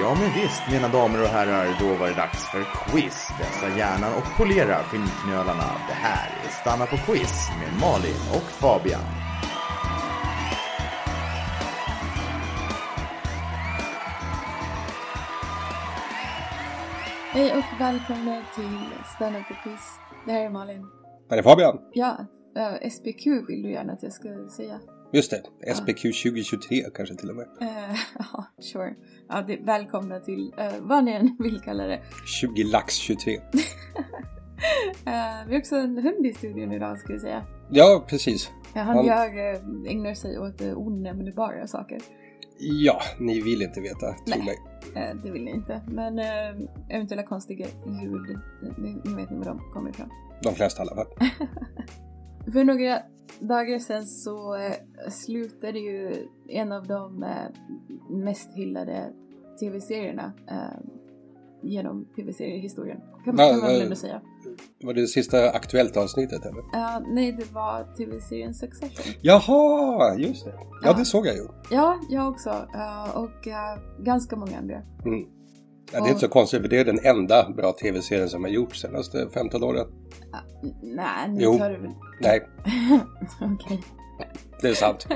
Ja, men visst, mina damer och herrar, då var det dags för quiz. Vässa hjärnan och polera skinnknölarna. Det här är Stanna på quiz med Malin och Fabian. Hej och välkomna till Stanna på quiz. Det här är Malin. Här är Fabian. Ja, eh, SPQ vill du gärna att jag ska säga. Just det, SPQ 2023 kanske till och med. Eh, Ja, sure. Ja, det, välkomna till eh, vad ni än vill kalla det. 20 lax 23. Eh, vi har också en hund i studion idag ska vi säga. Ja, precis. Ja, han Han- gör, eh, ägnar sig åt eh, onämnbara saker. Ja, ni vill inte veta, tro Nej. mig. Eh, det vill ni inte. Men eh, eventuella konstiga ljud, eh, ni, ni vet ni var de kommer ifrån. De flesta i alla fall. För några dagar sedan så eh, slutade ju en av de eh, mest hyllade tv-serierna eh, genom tv-seriehistorien. Kan, Va- kan man va- väl ändå säga. Var det sista Aktuellt avsnittet eller? Ja, nej, det var tv-serien Succession. Jaha, just det. Ja, Ja. det såg jag ju. Ja, jag också. eh, och eh, ganska många andra. Ja, det är inte så konstigt för det är den enda bra tv-serien som har gjorts senaste 15 åren. N- Nej, nu Jo. tar du väl... Nej, Okej. det är sant.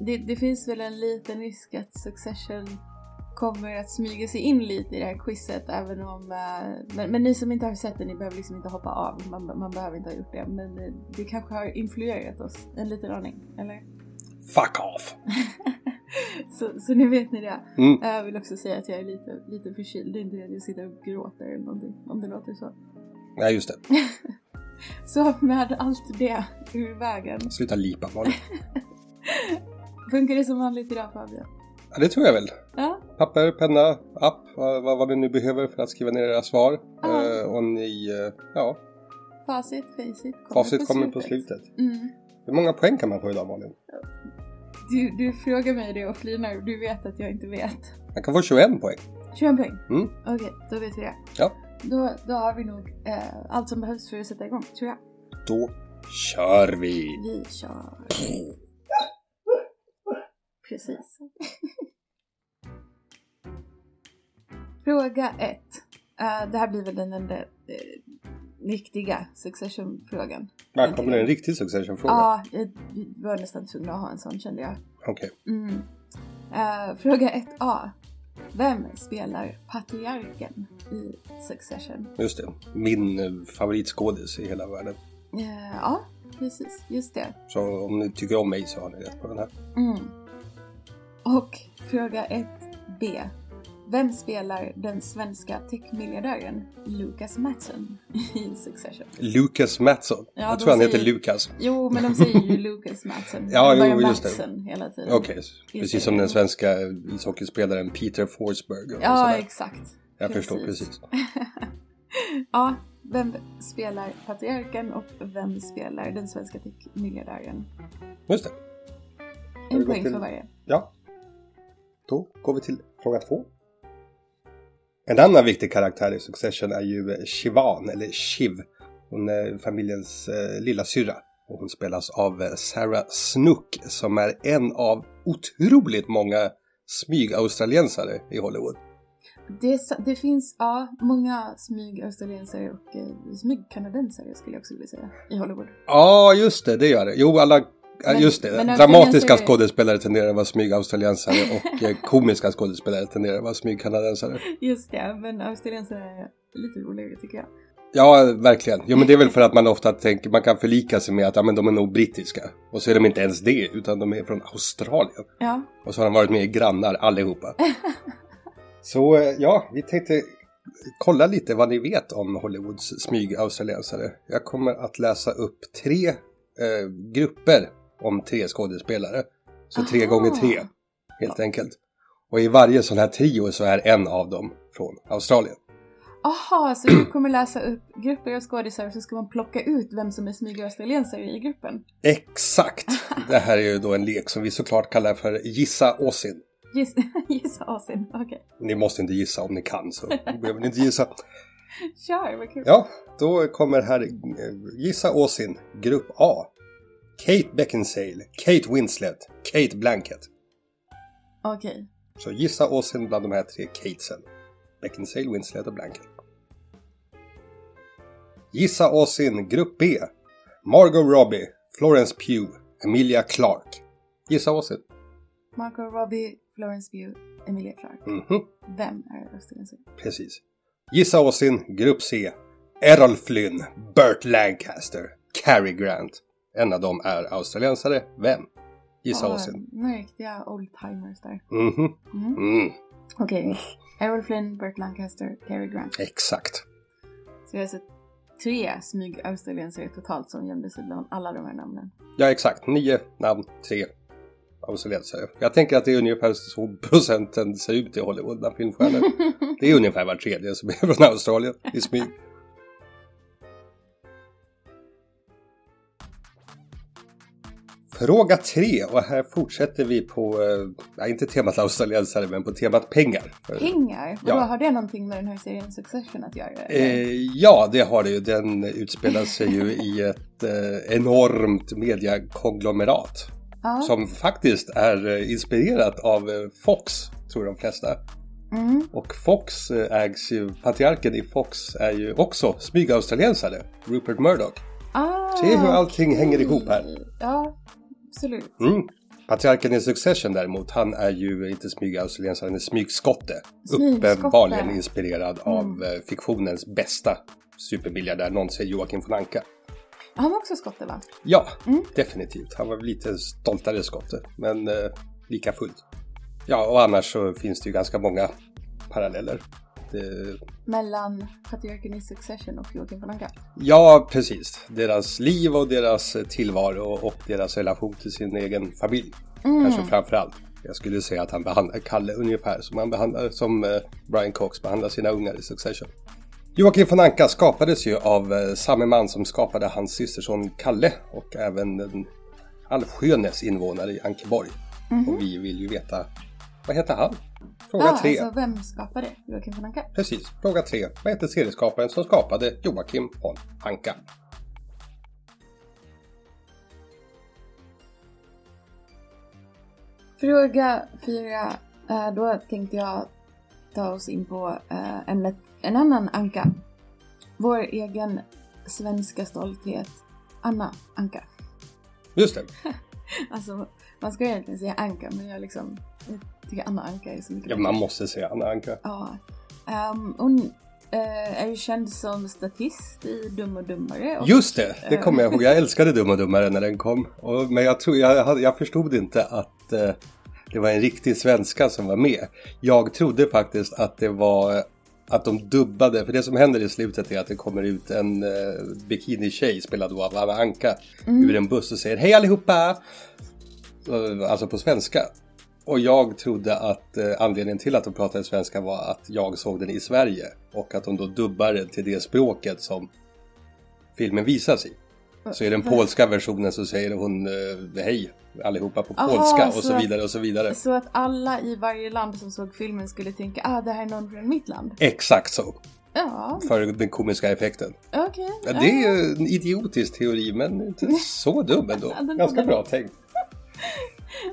Det, det finns väl en liten risk att Succession kommer att smyga sig in lite i det här quizet även om... eh, men, men ni som inte har sett det, ni behöver liksom inte hoppa av. Man, man behöver inte ha gjort det. Men eh, det kanske har influerat oss en liten aning, eller? Fuck off! Så, så nu vet ni det. Mm. Eh, Jag vill också säga att jag är lite, lite förkyld. Det är inte det att jag sitter och gråter eller någonting, om det låter så. Nej, just det. Så med allt det ur vägen. Sluta lipa Malin. Funkar det som vanligt idag Fabian? Ja, det tror jag väl. Ja, Papper, penna, app, vad, vad, vad ni nu behöver för att skriva ner era svar. Ja. Eh, och ni, eh, ja, facit, facit kommer facit kommer på slutet. Mm. Hur många poäng kan man få idag Malin? Du, du frågar mig det och flinar och du vet att jag inte vet. Man kan få 21 poäng. 21 poäng? Mm. Okej, då vet vi det. Ja. Då, då har vi nog eh, allt som behövs för att sätta igång, tror jag. Då kör vi! Vi kör. Precis. Fråga 1. det här blir väl den enda eh, riktiga Succession-frågan. Här kommer en riktig Succession-fråga. Ja, jag vi var nästan tvungna att ha en sån kände jag. Okej. Mm. Eh, fråga 1A. Vem spelar patriarken i Succession? Just det. Min eh, favoritskådis i hela världen. Eh, ja, precis. Just det. Så om ni tycker om mig så har ni rätt på den här. Mm. Och fråga 1B. Vem spelar den svenska techmiljardären Lucas Mattsson i Succession? Lukas Mattsson. Ja, jag de tror han heter säger- Lukas. Jo, men de säger ju Lucas Mattsson. Ja, De jo, bara just det. Mattsson hela tiden. Okej, det. precis som den svenska ishockeyspelaren Peter Forsberg. Och Ja, sådär. exakt. Jag förstår precis. precis. Ja, vem spelar patriarken och vem spelar den svenska techmiljardären? Just det. Har vi En gått poäng till- för varje. Ja. Då går vi till fråga två. En annan viktig karaktär i Succession är ju eh, Shivan, eller Shiv. Hon är familjens eh, lilla syrra. Och hon spelas av eh, Sarah Snook som är en av otroligt många smyg-australiensare i Hollywood. Det, är sa- det finns ja, många smyg-australiensare och eh, smyg-kanadensare skulle jag också vilja säga i Hollywood. Ja, just det, det gör det. Jo, alla... ja, Men- just det. men Dramatiska australiensare- skådespelare tenderar att vara smyg-australiensare och eh, komiska skådespelare tenderar att vara smyg-kanadensare. Just det, men australiensare är lite roligare tycker jag. Ja, verkligen. Jo, men det är väl för att man ofta tänker, man kan förlika sig med att ja, men de är nog brittiska. Och så är de inte ens det, utan de är från Australien. Ja, Och så har de varit med i Grannar allihopa. så eh, ja, vi tänkte kolla lite vad ni vet om Hollywoods smyg-australiensare. Jag kommer att läsa upp tre eh, grupper om tre skådespelare. Så tre Aha. gånger tre, helt enkelt. Och i varje sån här trio så är en av dem från Australien. aha, så du kommer läsa upp grupper av skådisar och så ska man plocka ut vem som är smyg-australiensare i gruppen. Exakt! Det här är ju då en lek som vi såklart kallar för Gissa Åsin. Giss- Gissa Asien, okej. Ni måste inte gissa om ni kan så behöver ni inte gissa. Kör, vad kul! Ja, då kommer här eh, Gissa Åsin, Grupp A. Kate Beckinsale, Kate Winslet, Kate Blanket. Okej, Så gissa åsen bland de här tre Catesen. Beckinsale, Winslet och Blanket. Gissa åsen Grupp B. Margot Robbie, Florence Pugh, Emilia Clarke. Gissa åsen. Margot Robbie, Florence Pugh, Emilia Clarke. Mhm, Vem är australiensare? precis. Gissa åsen Grupp C. Errol Flynn, Burt Lancaster, Cary Grant. En av dem är australiensare. Vem? Gissa Ah, åsen. Några riktiga oldtimers där. Mhm. Mm. Mm, Okej. Errol Flynn, Burt Lancaster, Cary Grant. exakt. Så vi har alltså tre smyg-australiensare totalt som gömde sig bland alla de här namnen. Ja, exakt. Nio namn, tre australiensare. Jag tänker att det är ungefär så procenten ser ut i Hollywood bland filmstjärnor. Det är ungefär var tredje som är från Australien i smyg. Fråga tre och här fortsätter vi på, eh, nej, inte temat australiensare, men på temat pengar. Pengar? Vadå, Eh, Ja. har det någonting med den här serien Succession att göra? eller? Eh, ja, det har det ju. Den utspelar sig ju i ett eh, enormt mediakonglomerat. ja. Som faktiskt är eh, inspirerat av eh, Fox, tror de flesta. Mm. Och Fox eh, ägs ju, patriarken i Fox är ju också smygaustraliensare, Rupert Murdoch. Ah, Se hur allting hänger ihop här. okej. Ja, absolut. Mm. Patriarken i Succession däremot, han är ju inte smygaustraliensare, han är smygskotte. Smygskotte. Uppenbarligen inspirerad Mm. av eh, fiktionens bästa supermiljardär någonsin, Joakim von Anka. Han var också skotte va? Ja, Mm. definitivt. Han var väl lite stoltare skotte, men eh, lika fullt. Ja, och annars så finns det ju ganska många paralleller. Det, Mellan patriarken i Succession och Joakim von Anka. ja, precis. Deras liv och deras eh, tillvaro och deras relation till sin egen familj. Mm. Kanske framför allt. Jag skulle säga att han behandlar Kalle ungefär som, han behandlar, som eh, Brian Cox behandlar sina ungar i Succession. Joakim von Anka skapades ju av eh, samma man som skapade hans systerson Kalle och även den Alfsjönes invånare i Ankeborg. Och vi vill ju veta, vad heter han? Fråga Mhm. Ja, tre. alltså vem skapade Joakim von Anka? Precis, fråga tre. Vad heter serieskaparen som skapade Joakim von Anka? Fråga fyra. Eh, Då tänkte jag ta oss in på eh, ämnet en annan anka. Vår egen svenska stolthet, Anna Anka. Just det, Alltså, man ska ju egentligen säga Anka, men jag liksom jag tycker Anna Anka är så mycket ja, bättre. man måste säga Anna Anka. Ja. Ehm, hon eh, är ju känd som statist i Dum och Dummare. Och, Just det, det kommer jag ihåg. Jag älskade Dum och Dummare när den kom. Och, men jag, tror, jag, hade- jag förstod inte att eh, det var en riktig svenska som var med. Jag trodde faktiskt att det var eh, att de dubbade, för det som händer i slutet är att det kommer ut en eh, bikinitjej spelad då av Anna Anka ur en buss och säger Hej allihopa! Eh, Alltså på svenska. Och jag trodde att eh, anledningen till att de pratade svenska var att jag såg den i Sverige och att de då dubbar den till det språket som filmen visas i. Så i den polska versionen så säger hon eh, hej allihopa på Aha, polska och så så att- vidare och så vidare. Så att alla i varje land som såg filmen skulle tänka ah, det här är någon från mitt land. Exakt så, Ja, för den komiska effekten. okej. Ja, det är ju en idiotisk teori men inte så dum ändå. Ja, den- Ganska bra tänkt.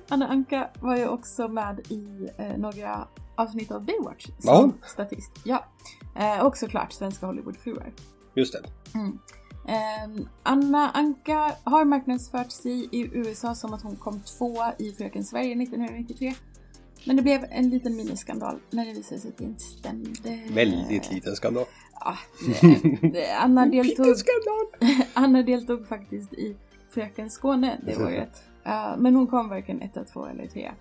Anna Anka var ju också med i eh, några avsnitt av Baywatch som Var hon? statist. Ja. Eh, och såklart svenska Hollywoodfruar. Just det. Eh, Anna Anka har marknadsfört sig i USA som att hon kom tvåa i Fröken Sverige 1993. Men det blev en liten miniskandal när det visade sig att det inte stämde. Väldigt liten skandal. Ja, det- det- Anna deltog Liten skandal! Anna deltog faktiskt i Fröken Skåne det året. Eh, men hon kom varken etta, två eller tre.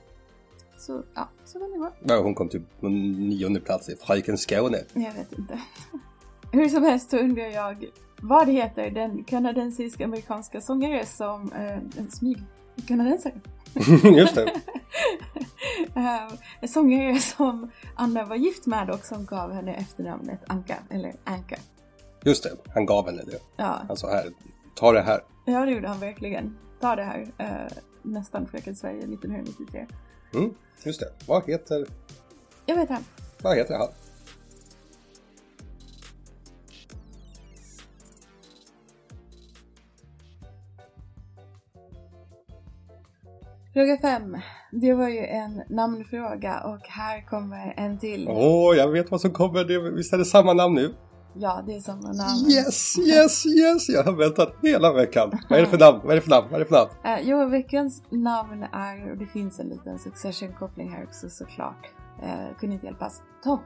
Så, ja, så var det bra. Ja, hon kom typ på nionde plats i Freiken Skåne. Jag vet inte. Hur som helst så undrar jag vad heter den kanadensisk-amerikanska sångare som... Eh, en smyg kanadensare. Just det. Eh, en sångare som Anna var gift med och som gav henne efternamnet Anka, eller Anka. Just det, han gav henne det. Ja, Han sa här, ta det här. Ja, det gjorde han verkligen. Ta det här. Eh, nästan Fröken Sverige 1993. Mm, just det. Vad heter, Jag vet han. vad heter han? Fråga 5. Det var ju en namnfråga och här kommer en till. Åh, jag vet vad som kommer. Det, visst är det samma namn nu? Ja, det är samma namn. Yes, yes, yes! Jag har väntat hela veckan. Vad är det för namn? Vad är det för namn? Vad är det för namn? Eh, jo, veckans namn är, och det finns en liten succession-koppling här också såklart. Eh, kunde inte hjälpas. Tom.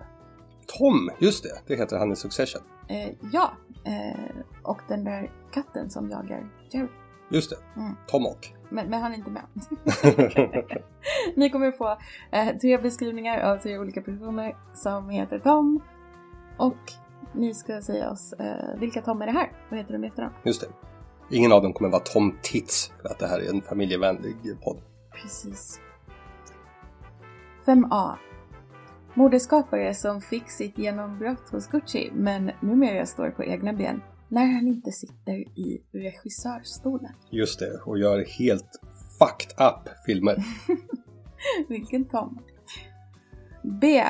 Tom, just det. Det heter han i Succession. Eh, ja, eh, och den där katten som jagar Jerry. Just det. Mm. Tom och. Men, men han är inte med. Ni kommer få eh, tre beskrivningar av tre olika personer som heter Tom. Och ni ska säga oss, eh, vilka Tom är det här? Vad heter de i efternamn? just det. Ingen av dem kommer vara Tom Tits för att det här är en familjevänlig podd. Precis. 5A. Modeskapare som fick sitt genombrott hos Gucci men numera står på egna ben när han inte sitter i regissörstolen. Just det, och gör helt fucked up filmer. Vilken Tom! B.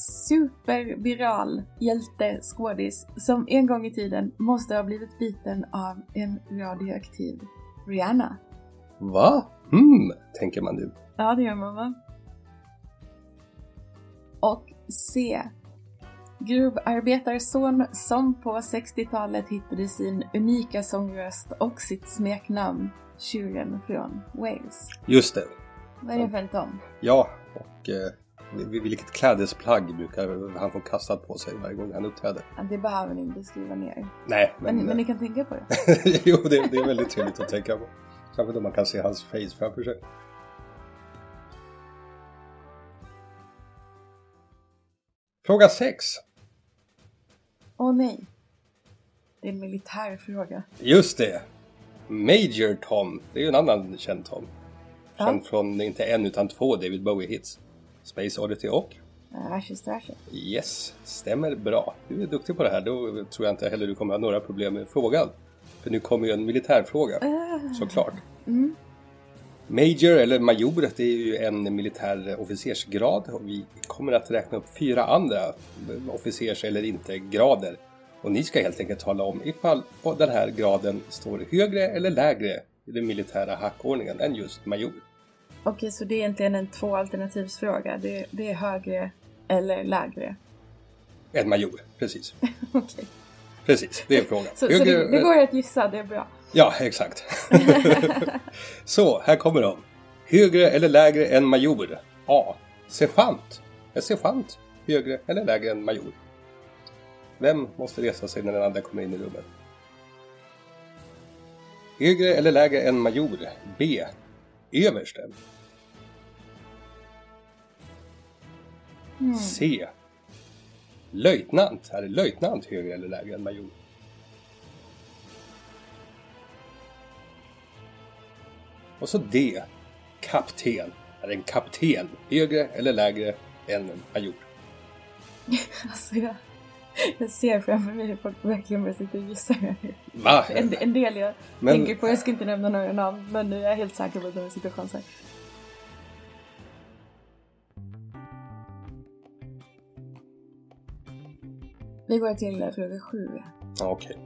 Superviral hjälte skådis som en gång i tiden måste ha blivit biten av en radioaktiv Rihanna. Va? Hmm, tänker man nu. Ja, det gör man va? Och C. Gruvarbetarson som på 60-talet hittade sin unika sångröst och sitt smeknamn Tjuren från Wales. Just det. Vad är det för en tom? Ja, och eh, vil- vilket klädesplagg brukar han få kastat på sig varje gång han uppträder? Ja, det behöver ni inte skriva ner. Nej, Men, men... eh, men ni kan tänka på det. jo, det, det är väldigt tydligt att tänka på. Särskilt om man kan se hans face framför sig. Fråga 6. Åh nej. Det är en militär fråga. Just det! Major Tom. Det är ju en annan känd Tom. Känd från inte en utan två David Bowie-hits. Space Oddity och Äh, Ashes to ashes. Yes, stämmer bra. Du är duktig på det här. Då tror jag inte heller du kommer ha några problem med frågan. För nu kommer ju en militärfråga, såklart. Ah. Mm. Major eller major, det är ju en militär officersgrad och vi kommer att räkna upp fyra andra officers eller inte grader. Och ni ska helt enkelt tala om ifall den här graden står högre eller lägre i den militära hackordningen än just major. Okej, så det är egentligen en två alternativsfråga. Det, det är högre eller lägre. En major, precis. Okej. Precis, det är frågan. Så, så det, det eller- går att gissa, det är bra. Ja, exakt. Så, här kommer de. Högre eller lägre än major? A. Sergeant. Är sergeant högre eller lägre än major? Vem måste resa sig när den andra kommer in i rummet? Högre eller lägre än major? B. Överste. Mm. C. Löjtnant. Är löjtnant högre eller lägre än major? Och så D. Kapten. Är en kapten högre eller lägre än en major? Alltså jag, jag ser framför mig hur folk verkligen börjar sitta och gissa. Va? En, en del jag Men- tänker på, jag ska inte nämna några namn, men jag är helt säker på att de sitter och chansar. Vi går till eh, fråga sju. Ja, Okej.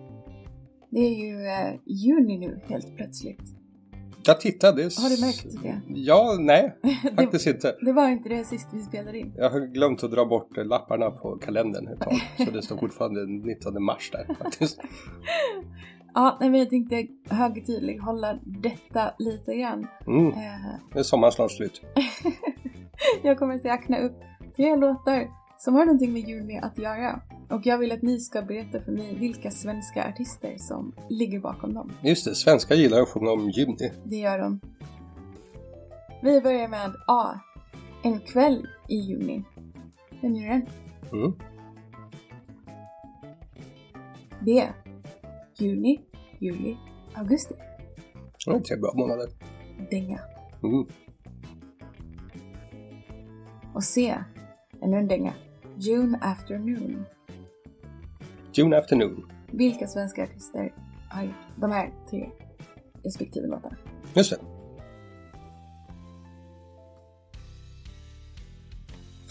Det är ju eh, juni nu helt plötsligt. Jag tittade. s- Har du märkt det? Ja, nej. Det, Faktiskt inte. det var inte det sist vi spelade in. Jag har glömt att dra bort eh, lapparna på kalendern ett tag. Så det står fortfarande 19 mars där faktiskt. Ja, nej, men jag tänkte högtidlig hålla detta lite grann. Mm, Eh, nu är sommaren snart slut. Jag kommer att räkna upp tre låtar som har någonting med juni att göra. Och jag vill att ni ska berätta för mig vilka svenska artister som ligger bakom dem. Just det, svenskar gillar att sjunga om juni. Det gör de. Vi börjar med A. En kväll i juni. Vem gör den? Mm. B. Juni, juli, augusti. Det är tre bra månader. Dänga. Mm. Och C. Ännu en dänga. June afternoon. June afternoon. Vilka svenska artister har gjort de här tre respektive låtarna? Just det.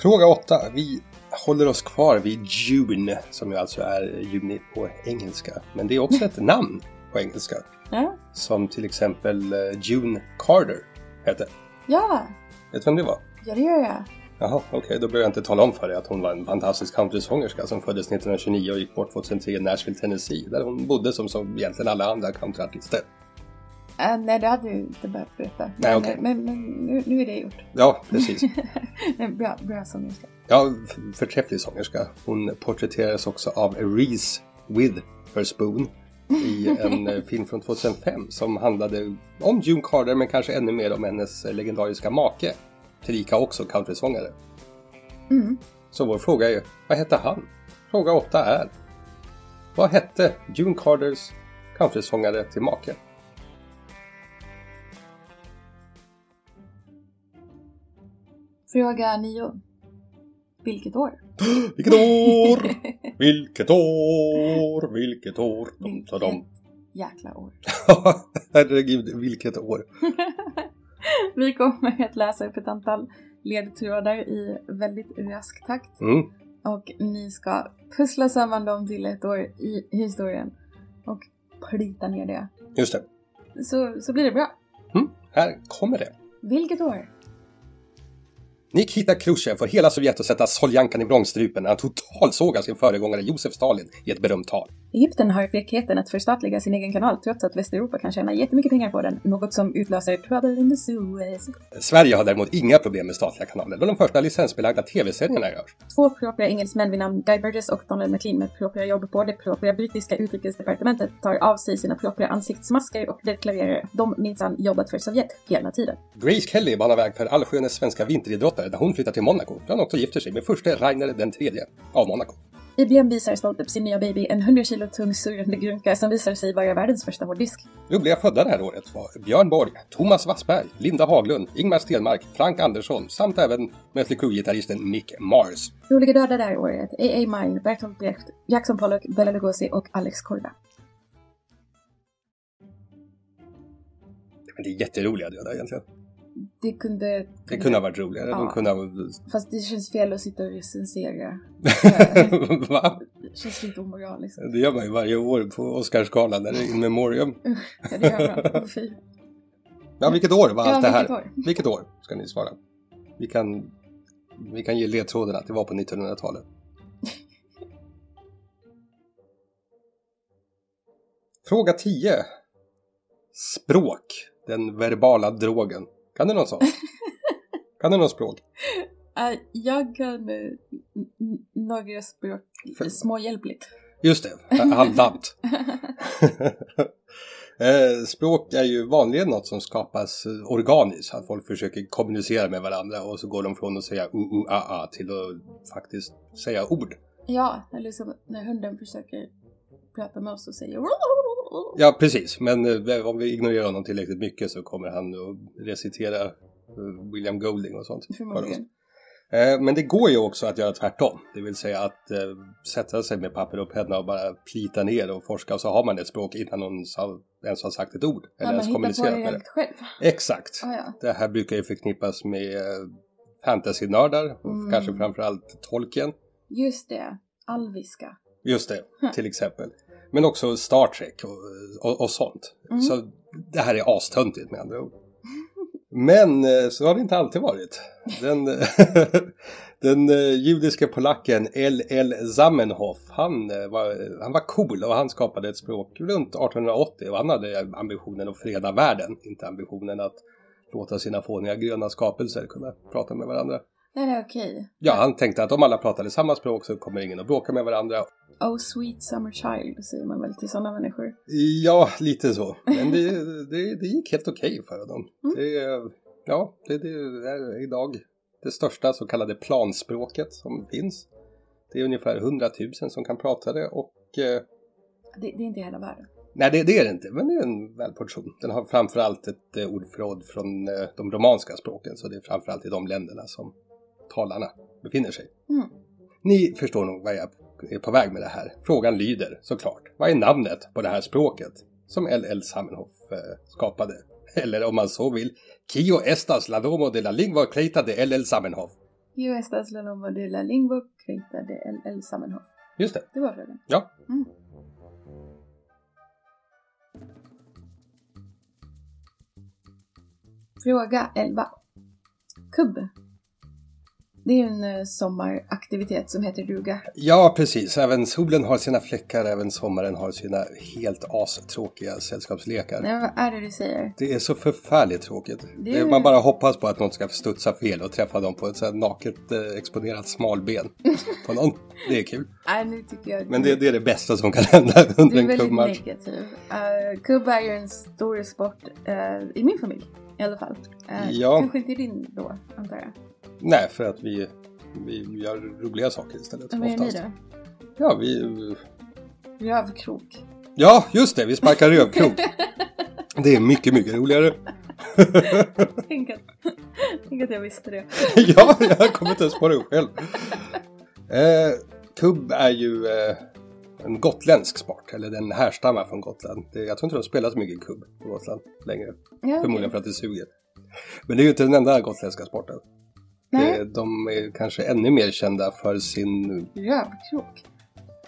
Fråga 8. Vi håller oss kvar vid June, som ju alltså är juni på engelska. Men det är också ett namn på engelska. Ja, Som till exempel eh, June Carter heter. ja Vet du vem det var? Ja, det gör jag. Jaha, okej, då behöver jag inte tala om för dig att hon var en fantastisk countrysångerska som föddes 1929 och gick bort 2003 i Nashville, Tennessee, där hon bodde som, som egentligen alla andra countryartister. Äh, nej, det hade du inte behövt berätta. Nej, okej. Men, men nu, nu är det gjort. Ja, precis. En bra, bra sångerska. Ja, f- förträfflig sångerska. Hon porträtteras också av Reese with her spoon i en eh, film från 2005 som handlade om June Carter men kanske ännu mer om hennes eh, legendariska make, tillika också countrysångare. Mm. Så vår fråga är, vad hette han? Fråga 8 är, vad hette June Carters countrysångare till make? Fråga nio. Vilket år? Vilket år! Vilket år! Vilket år! Dom, dom, dom. jäkla år. Herregud, vilket år! Vi kommer att läsa upp ett antal ledtrådar i väldigt rask takt. Mm. Och ni ska pussla samman dem till ett år i historien. Och plita ner det. Just det. Så, så blir det bra. Här kommer det. Vilket år? Nikita Khrushchev får hela Sovjet att sätta soljankan i vrångstrupen när han totalsågar sin föregångare Josef Stalin i ett berömt tal. Egypten har fräckheten att förstatliga sin egen kanal trots att Västeuropa kan tjäna jättemycket pengar på den. Något som utlöser trouble in the Suez. Sverige har däremot inga problem med statliga kanaler då de första licensbelagda tv-serierna görs. Två propria engelsmän vid namn Guy Burgess och Donald McLean med propria jobb på det propria brittiska utrikesdepartementet tar av sig sina propria ansiktsmasker och deklarerar att de minsann jobbat för Sovjet hela tiden. Grace Kelly banar väg för allskönes svenska vinteridrottare när hon flyttar till Monaco där hon också gifter sig med förste Rainer den tredje av Monaco. IBM visar stolt upp sin nya baby, en 100 kilo tung surrande grunka som visar sig vara världens första hårddisk. Roliga födda det här året var Björn Borg, Thomas Wassberg, Linda Haglund, Ingmar Stenmark, Frank Andersson samt även Mötley Crüe-gitarristen Mick Mars. Roliga döda det här året, A.A. Mine, Bertolt Brecht, Jackson Pollock, Bela Lugosi och Alex Korda. Men det är jätteroliga döda egentligen. Det kunde... Det kunde ha varit roligare. De Ja. kunde ha Fast det känns fel att sitta och recensera. Eh, Va? det känns lite omoraliskt. Det gör man ju varje år på Oscarsgalan när det är Mm. in memoriam. Ja, det gör jag bra. Fy. Ja, vilket år var Ja, allt det här? vilket år? Vilket år ska ni svara? Vi kan, vi kan ge ledtråden att det var på 1900-talet. Fråga 10. Språk. Den verbala drogen. Kan du någon sån? kan du någon språk? Eh, jag kan eh, n- n- några språk För- småhjälpligt. Just det, halvdant. Eh, Språk är ju vanligen något som skapas eh, organiskt, att folk försöker kommunicera med varandra och så går de från att säga u-u-a-a till att faktiskt säga ord. Ja, eller som när hunden försöker prata med oss och säger Ja, precis, men eh, om vi ignorerar honom tillräckligt mycket så kommer han att recitera eh, William Golding och sånt. för oss. Förmodligen. Eh, Men det går ju också att göra tvärtom, det vill säga att eh, sätta sig med papper och penna och bara plita ner och forska och så har man ett språk innan någon sa- ens har sagt ett ord Ja, man eller ens hittar på kommunicerat det med det. helt själv. Exakt. Ah, ja. Det här brukar ju förknippas med eh, fantasynördar och Mm. kanske framförallt Tolkien. Just det, alviska. Just det, Hm. till exempel. Men också Star Trek och, och, och sånt. Mm. Så det här är astöntigt med andra ord. Men eh, så har det inte alltid varit. Den, den eh, judiska polacken L.L. Zamenhof, han eh, var, han var cool och han skapade ett språk runt 1880 och han hade ambitionen att freda världen, inte ambitionen att låta sina fåniga gröna skapelser kunna prata med varandra. Nej, det är okej. Ja, han tänkte att om alla pratade samma språk så kommer ingen att bråka med varandra Oh sweet summer child säger man väl till sådana människor. Ja, lite så. Men det, det, det gick helt okej för dem. Mm. Det, är- ja, det, det är idag det största så kallade planspråket som finns. Det är ungefär 100 000 som kan prata det och eh, Det, det är inte hela världen. nej, det, det är det inte, men det är en välportion. Den har framförallt ett eh, ordförråd från eh, de romanska språken, så det är framförallt i de länderna som talarna befinner sig. Mm. Ni förstår nog vad jag är på väg med det här. Frågan lyder såklart, vad är namnet på det här språket som LL Samenhof eh, skapade? Eller om man så vill, Kio estas la domo de la lingua creita de LL Samenhof. Io estas la nomo de la lingua creita de el el samenhof. Just det, Det var frågan. ja. Mm. Fråga 11. kubb. Det är en eh, sommaraktivitet som heter duga. Ja, precis. Även solen har sina fläckar, även sommaren har sina helt astråkiga sällskapslekar. Nej, vad är det du säger? Det är så förfärligt tråkigt. Det är- Man bara hoppas på att någon ska studsa fel och träffa dem på ett så här naket eh, exponerat smalben på någon. Det är kul. Nej, nu tycker jag... Men det, det är det bästa som kan hända under Du är en väldigt klubbmatch. negativ. Uh, kubb är ju en stor sport eh, i min familj i alla fall. Eh, Ja. Kanske inte i din då, antar jag. Nej, för att vi, vi gör roliga saker istället. Men vad gör ni oftast. då? Ja, vi... Rövkrok. Ja, just det! Vi sparkar rövkrok. Det är mycket, mycket roligare. Tänk att, tänk att jag visste det. ja, jag kommer inte ens på det själv. Eh, kubb är ju eh, en gotländsk sport, eller den härstammar från Gotland. Det, jag tror inte de spelar så mycket kubb på Gotland längre. Ja, okej. Förmodligen för att det suger. Men det är ju inte den enda gotländska sporten. Nej, Eh, de är kanske ännu mer kända för sin... rövkrok.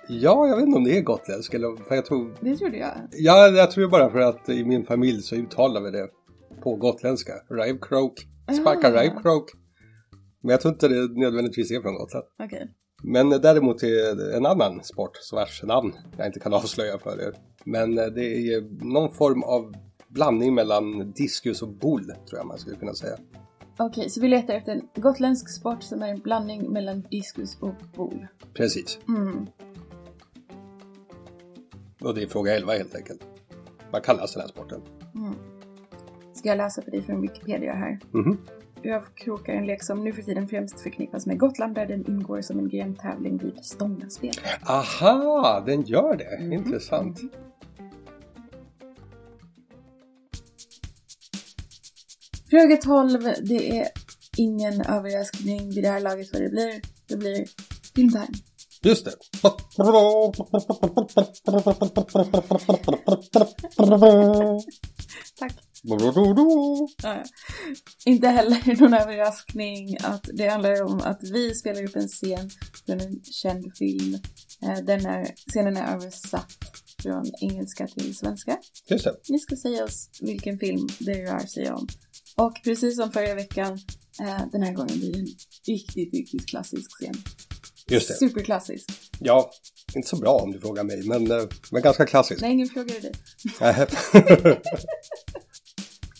Ja, jag vet inte om det är gotländsk eller... För jag tror... Det trodde jag. Ja, jag tror bara för att i min familj så uttalar vi det på gotländska. Rive croak. Sparka Ah. rive croak. Men jag tror inte det nödvändigtvis är från Gotland. Okej. Men däremot är det en annan sport vars namn jag inte kan avslöja för er. Men eh, det är någon form av blandning mellan diskus och boule, tror jag man skulle kunna säga. Okej, så vi letar efter en gotländsk sport som är en blandning mellan diskus och boule. Precis, Mm. och det är fråga 11 helt enkelt. Vad kallas den här sporten? Mm. Ska jag läsa för dig från Wikipedia här? Mhm. Rövkrok är en lek som nu för tiden främst förknippas med Gotland där den ingår som en grentävling vid stångaspel. Aha, den gör det! Mhm. Intressant. Fråga 12. Det är ingen överraskning vid det här laget vad det blir. Det blir filmvärlden. Just det! Tack. Ja, ja. Inte heller någon överraskning att det handlar om att vi spelar upp en scen från en känd film. Eh, Den är, scenen är översatt från engelska till svenska. Just det. Ni ska säga oss vilken film det rör sig om. Och precis som förra veckan, eh, den här gången blir det en riktigt, riktigt klassisk scen. Just det. Superklassisk. Ja, inte så bra om du frågar mig, men, eh, men ganska klassisk. Nej, ingen frågade dig. Nej.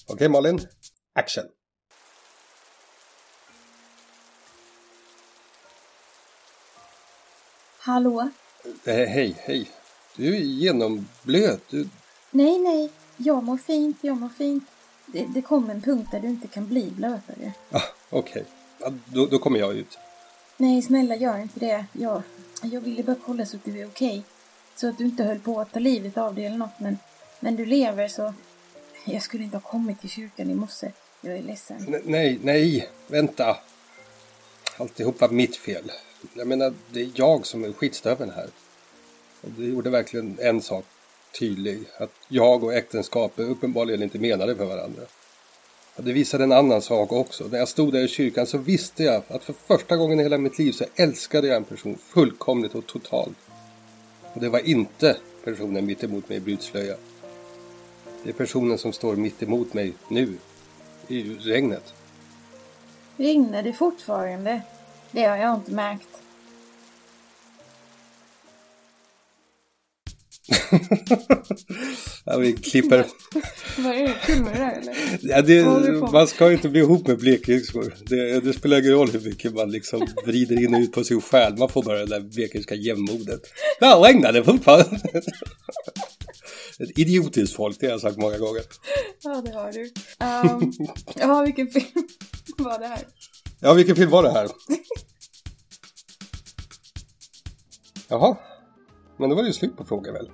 Okej Malin, action! Hallå? Eh, hej, hej! Du är genomblöt. Du... Nej, nej. Jag mår fint, jag mår fint. Det, det kom en punkt där du inte kan bli blötare. Ah, Okej, ja, då, då kommer jag ut. Nej, snälla gör inte det. Jag, jag ville bara kolla så att du är okej. Så att du inte höll på att ta livet av dig eller något, men, men du lever så... Jag skulle inte ha kommit till kyrkan i morse. Jag är ledsen. N- nej, nej, vänta! Alltihop var mitt fel. Jag menar, det är jag som är skitstöveln här. Och det gjorde verkligen en sak tydlig, att jag och äktenskap är uppenbarligen inte menade för varandra. Och det visade en annan sak också. När jag stod där i kyrkan så visste jag att för första gången i hela mitt liv så älskade jag en person fullkomligt och totalt. Och det var inte personen mitt emot mig i brudslöja. Det är personen som står mitt emot mig nu, i regnet. Regnar det fortfarande? Det har jag inte märkt. Ja, vi klipper. Vad är det? Kul med det där eller? Ja, det, Vad håller du på med? man ska ju inte bli ihop med blekingskor. Det, det spelar ingen roll hur mycket man liksom vrider in och ut på sin själ. Man får bara det där blekingska jämnmodet. Ja, regnade fortfarande. Ett idiotiskt folk, det har jag sagt många gånger. Ja, det har du. Um, ja, vilken film var det här? Ja, vilken film var det här? Jaha, men då var det ju slut på frågan väl?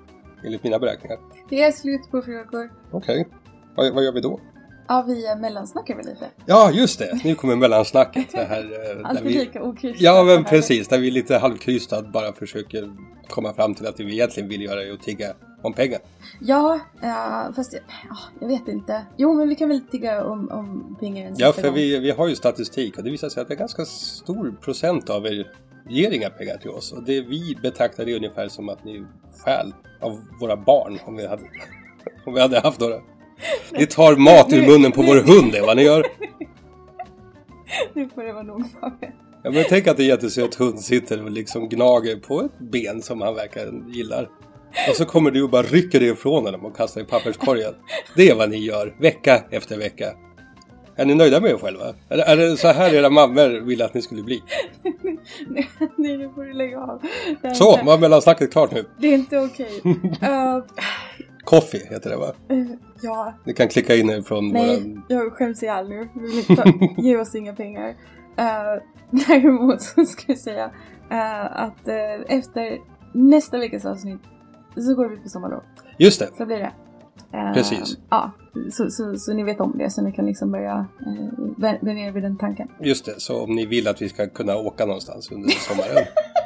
Enligt mina beräkningar. Det är slut på frågor. Okej, vad, vad gör vi då? Ja, vi mellansnackar väl lite. Ja, just det. Nu kommer mellansnacket. Det här, eh, där Alltid vi- lika okrystat. Ja, men precis. Där vi lite halvkrystat bara försöker komma fram till att det vi egentligen vill göra är att tigga om pengar. Ja, eh, fast jag, ja, jag vet inte. Jo, men vi kan väl tigga om, om pengar en Ja, sista för gång. vi, vi har ju statistik och det visar sig att det är ganska stor procent av er ger inga pengar till oss. Och det vi betraktar det ungefär som att ni stjäl av våra barn om vi hade, om vi hade haft några. Ni tar mat ur munnen på vår hund, det är vad ni gör. Nu får det vara nog Fabian. Ja, men tänk att en jättesöt hund sitter och liksom gnager på ett ben som han verkar gillar. Och så kommer du och bara rycker dig ifrån honom och kastar i papperskorgen. Det är vad ni gör, vecka efter vecka. Är ni nöjda med er själva? Är, är det så här era mammor ville att ni skulle bli? Nej, nej, nu får du lägga av. Det här- Så, var mellansnacket klart nu. Det är inte okej. Eh, Coffee heter det va? eh, ja, Ni kan klicka in er från nej, våran... jag skäms ihjäl nu. Vi vill inte ta, ge oss inga pengar. Eh, däremot så ska jag säga eh, att eh, efter nästa veckas avsnitt så går vi på sommarlov. Just det, Så blir det. Eh, Precis. Ja, så, så, så ni vet om det så ni kan liksom börja eh, vä- vänja er vid den tanken. just det. Så om ni vill att vi ska kunna åka någonstans under sommaren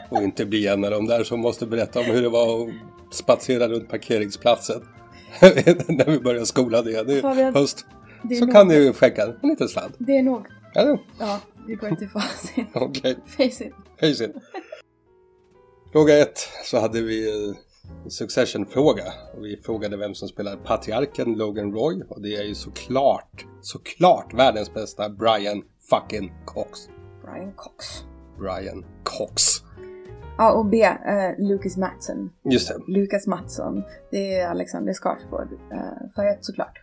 och inte bli en av de där som måste berätta om hur det var att spatsera runt parkeringsplatsen när vi börjar skolan igen i Fabian, höst. Det är Så nog. kan ni ju skänka en liten slant. Det är nog. Ja, Ja, vi går till facit. Okej, Face it. hej sin. Fråga ett så hade vi eh, en Succession-fråga. Och vi frågade vem som spelar patriarken Logan Roy. Och det är ju såklart, såklart världens bästa Brian fucking Cox. Brian Cox. Brian Cox. Ja, och B. Eh, Lucas Mattsson. Just det. Lucas Mattsson. Det är Alexander Skarsgård. Eh, för att såklart.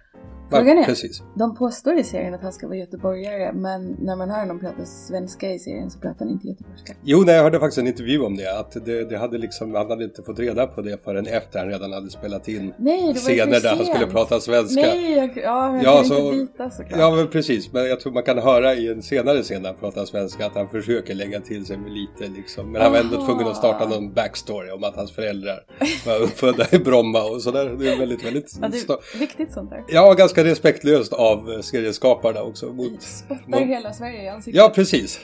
Va- Frågan är, Precis. de påstår i serien att han ska vara göteborgare men när man hör honom prata svenska i serien så pratar han inte göteborgska. Jo, nej, jag hörde faktiskt en intervju om det. Att det, det hade liksom, han hade inte fått reda på det förrän efter han redan hade spelat in Nej, det var ju för scener där han sent. skulle prata svenska. Nej, jag, ja, jag Ja, kan så- inte bita såklart. Ja men precis, men jag tror man kan höra i en senare scen när han pratar svenska att han försöker lägga till sig med lite liksom. Men han var ändå Aha. tvungen att starta någon backstory om att hans föräldrar var uppfödda i Bromma och sådär. Det är väldigt, väldigt... Ja, sta- det, viktigt sånt där. Ja, ganska respektlöst av eh, serieskaparna också. Mot... Spottar mot- hela Sverige i ansiktet. Ja precis,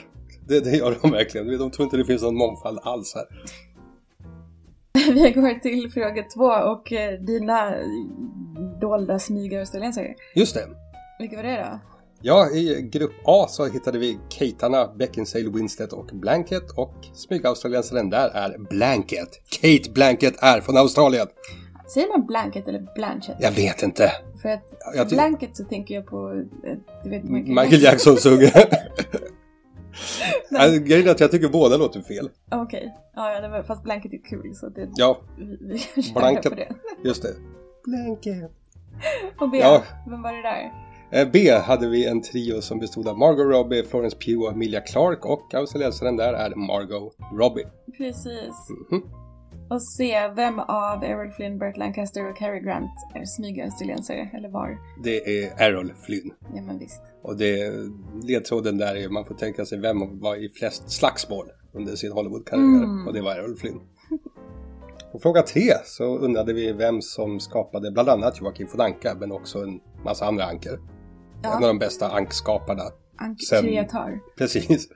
det, det gör de verkligen. De tror inte det finns någon mångfald alls här. Vi går till fråga två och eh, dina dolda smyga-australiensare. Just det. Vilka var det då? Ja, i grupp A så hittade vi Katarna, Beckinsale, Winstead och Blanket och smygaustraliensaren där är Blanket. Kate Blanket är från Australien. Säger man blanket eller blanchet? Jag vet inte. För att jag ty- blanket så tänker jag på, eh, du vet Michael, Michael Jackson sjunger. Nej, Grejen är att jag tycker båda låter fel. Okej, ja, ja, det var, fast blanket är kul så det, Ja, vi, vi kan köra Blanket. på det. just det. Blanket. Och B, Ja. vem var det där? Eh, B hade vi en trio som bestod av Margot Robbie, Florence Pugh och Emilia Clarke och australiensaren där är Margot Robbie. Precis. Mhm. Och C, vem av Errol Flynn, Burt Lancaster och Cary Grant är smyga-australiensare? Eller var? Det är Errol Flynn. Ja men visst. Och det, ledtråden där är man får tänka sig vem var i flest slagsmål under sin Hollywoodkarriär. Mm. Och det var Errol Flynn. På fråga tre så undrade vi vem som skapade bland annat Joakim von Anka men också en massa andra anker. Ja. En av de bästa ankskaparna. Anki Sen- kreatör. Precis.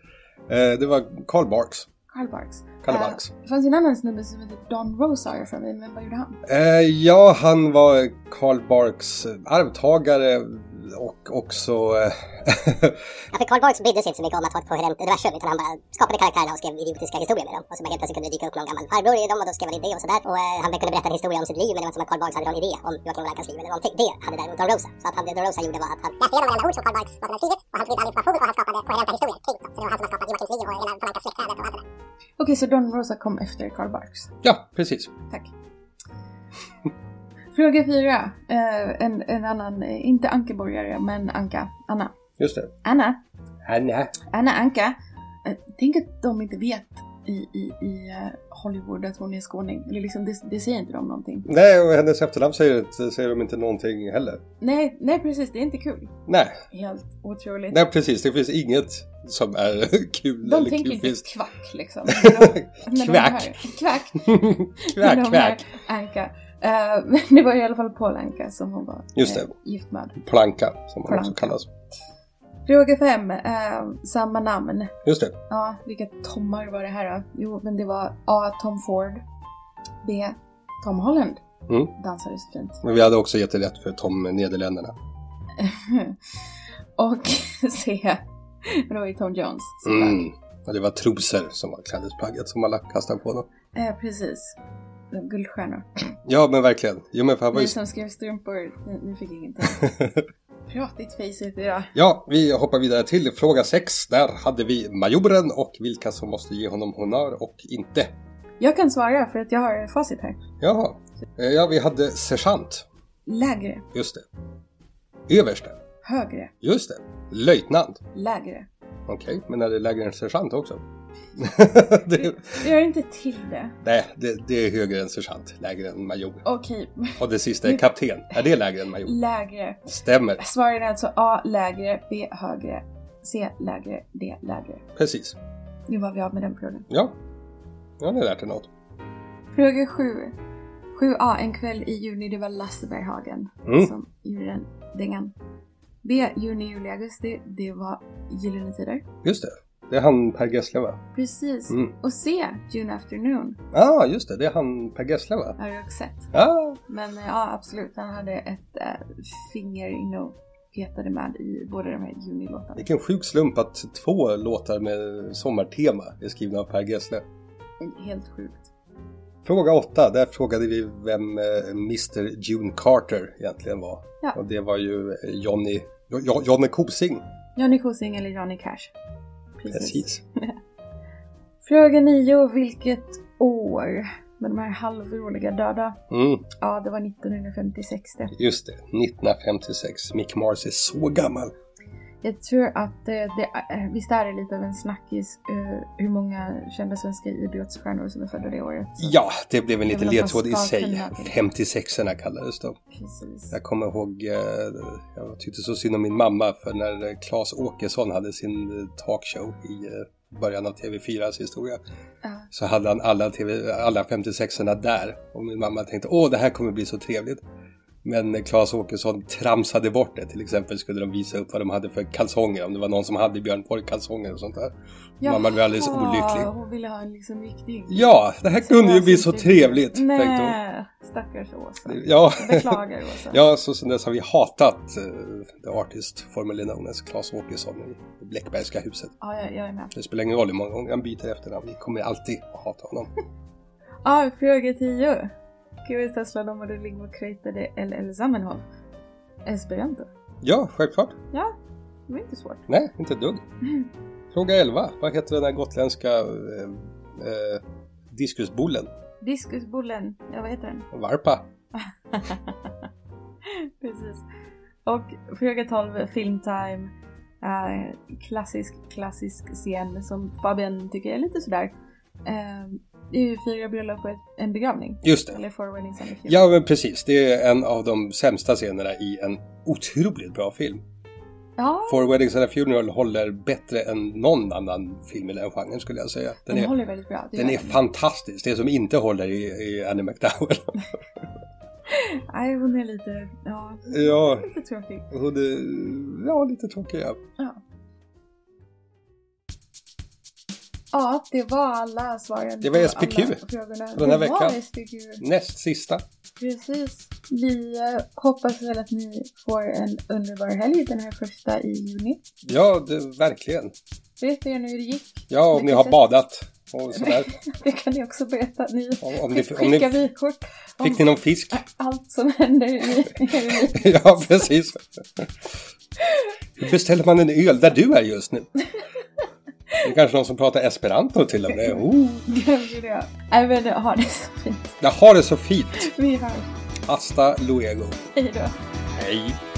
Eh, Det var Carl Barks. Carl Barks. Kalle Ja. Barks. Det fanns ju en annan snubbe som hette Don Rosar för mig, men vad gjorde han? Eh, Ja, han var Carl Barks arvtagare och också... eh, Alltså Carl Barks brydde sig inte så mycket om att ha ett koherent universum utan han bara skapade karaktärerna och skrev idiotiska historier med dem. Och så bara helt plötsligt kunde det dyka upp någon gammal farbror i dem och då skrev han in det och sådär. Och eh, han kunde berätta en historia om sitt liv men det var inte som att Carl Barks hade någon idé om Joakim von Ankas liv eller någonting. Det hade däremot Don Rosa. Så att han, det Don Rosa gjorde var att han läste igenom varenda ord som Carl Barks, vad han hade skrivit och han tog all information och han skapade koherenta historier kring dem. Så det var han som hade skapat Joakims liv och hela von Ankas släktträdet och allt det där. Okej, så Don Rosa kom efter Carl Barks. Ja, precis. Tack. Fråga fyra. Eh, en, en annan, eh, inte Ankeborgare, men Anka. Anna. Just det. Anna. Anna. Anna Anka. Eh, tänk att de inte vet i, i, i eh, Hollywood att hon är skåning. Eller liksom, det, det säger inte de någonting. Nej, och hennes efternamn säger, inte- säger de inte någonting heller. Nej, nej precis, det är inte kul. Nej, Helt otroligt. nej precis. Det finns inget som är kul de eller tänker inte kufiskt. kvack liksom. När de- när de Kvack. hör- Kvack. Men kvack, de här kvack. Anka. Eh, men det var i alla fall Paul Anka som hon var Just eh, det. gift med. Planka, som hon också Planka. kallas. Fråga fem, eh, samma namn. Just det. Ja, vilka Tommar var det här då? Jo, men det var A. Tom Ford. B. Tom Holland. Mm. Dansade så fint. Men vi hade också gett det rätt för Tom Nederländerna. Och C. Men det var ju Tom Jones. såklart. Mm. Och det var trosor som var klädesplagget som alla kastade på dem. Eh, precis. Guldstjärnor. Ja, men verkligen. Jo, men för han var ju... Ni som skrev strumpor, ni, ni fick ingenting. pratigt face ut idag. Ja, vi hoppar vidare till fråga 6. Där hade vi majoren och vilka som måste ge honom honör och inte. Jag kan svara för att jag har facit här. Jaha. Eh, Ja, vi hade sergeant. Lägre, Just det. Överste. högre, Just det. Löjtnant. lägre. Okej, men är det lägre än sergeant också? det, Gör inte till det. nej, det, det är högre än sergeant, lägre än major. Okej, Och det sista är kapten. Är det lägre än major? lägre. Stämmer, Svaren är alltså A lägre, B högre, C lägre, D lägre. precis. Nu var vi av med den frågan. Ja, ja ni har lärt er något. Fråga 7. 7A, en kväll i juni, det var Lasse Berghagen Mm. som gjorde den dängan. B, juni, juli, augusti, det var Gyllene Tider. Just det, det är han Per Gessle va? Precis. Mm. Och C, June Afternoon, Ja, ah, just det, det är han Per Gessle va? har jag också sett. Ja, Men eh, ja, absolut, han hade ett eh, finger inne och petade med i båda de här junilåtarna. vilken sjuk slump att två låtar med sommartema är skrivna av Per Gessle. Helt sjukt. Fråga åtta, där frågade vi vem eh, Mr June Carter egentligen var. Ja. Och det var ju eh, Johnny, Jo- Jo- Johnny Kosing. Johnny Kosing eller Johnny Cash. Precis. Fråga 9, vilket år? Med de här halvroliga döda. Mm, Ja, det var 1956 det. just det, 1956. Mick Mars är så gammal. Jag tror att eh, det, är- visst är det lite av en snackis eh, hur många kända svenska idrottsstjärnor som är födda det året? Så- Ja, det blev en Jag liten vill att man ledtråd i ska sig. kunna det. 56orna kallades de. Precis. Jag kommer ihåg, eh, jag tyckte så synd om min mamma för när eh, Claes Åkesson hade sin eh, talkshow i eh, början av TV4s historia Ja. så hade han alla, TV, alla 56orna där och min mamma tänkte åh det här kommer bli så trevligt. Men eh, Claes Åkesson tramsade bort det. Till exempel skulle de visa upp vad de hade för kalsonger, om det var någon som hade Björn Borg-kalsonger och sånt där. Mamma blev alldeles Jaha, olycklig. Hon ville ha en liksom riktig... typ. Ja, det här kunde ju bli så trevligt, tänkte hon. Nej, stackars Åsa. Ja. Jag beklagar Åsa. Ja, så sen dess har vi hatat uh, The Artist, formerly known as Claes Åkesson i Bleckbergska huset. ja jag, jag är med. Det spelar ingen roll hur många gånger han byter efternamn, vi kommer alltid att hata honom. Ja, fråga 10. Gud, Tesla, de hade ligg och krejtade eller eller sammanhåll. Esperanto. Ja, självklart. Ja, det var inte svårt. Nej, inte ett dugg. Mm. Fråga 11. Vad heter den där gotländska eh, eh, diskusbullen? Diskusbollen, ja vad heter den? Varpa? Precis. Och fråga 12, filmtime. Eh, klassisk, klassisk scen som Fabian tycker är lite sådär. Eh, det är ju fyra bröllop och ett- en begravning. Just det. Eller four weddings and a funeral. Ja, men precis. Det är en av de sämsta scenerna i en otroligt bra film. ja Four Weddings and a Funeral håller bättre än någon annan film i den genren skulle jag säga. den, Den är håller väldigt bra. Det Den gör är fantastisk, det som inte håller i, i Annie McDowell. Nej, hon är lite, ja, ja, lite tråkig. hon är, ja, lite tråkig ja. Ja, det var alla svaren. Det var på SPQ alla frågorna. för den det här veckan. Var SPQ. Näst sista. Precis. Vi eh, hoppas väl att ni får en underbar helg den här första i juni. Ja, det, verkligen. Berätta gärna hur det gick. Ja, om ni har badat och sådär. Det kan ni också berätta. Ni Om, om ni, om skickar ni, vykort om fick ni någon fisk? allt som händer i i- ja, precis. Hur beställer man en öl där du är just nu? Det är kanske någon som pratar esperanto till och med. Oh, Gud, ja. Nej, men ha det så fint. jag har det så fint. Vi hörs. Hasta luego. Hej då. Hej.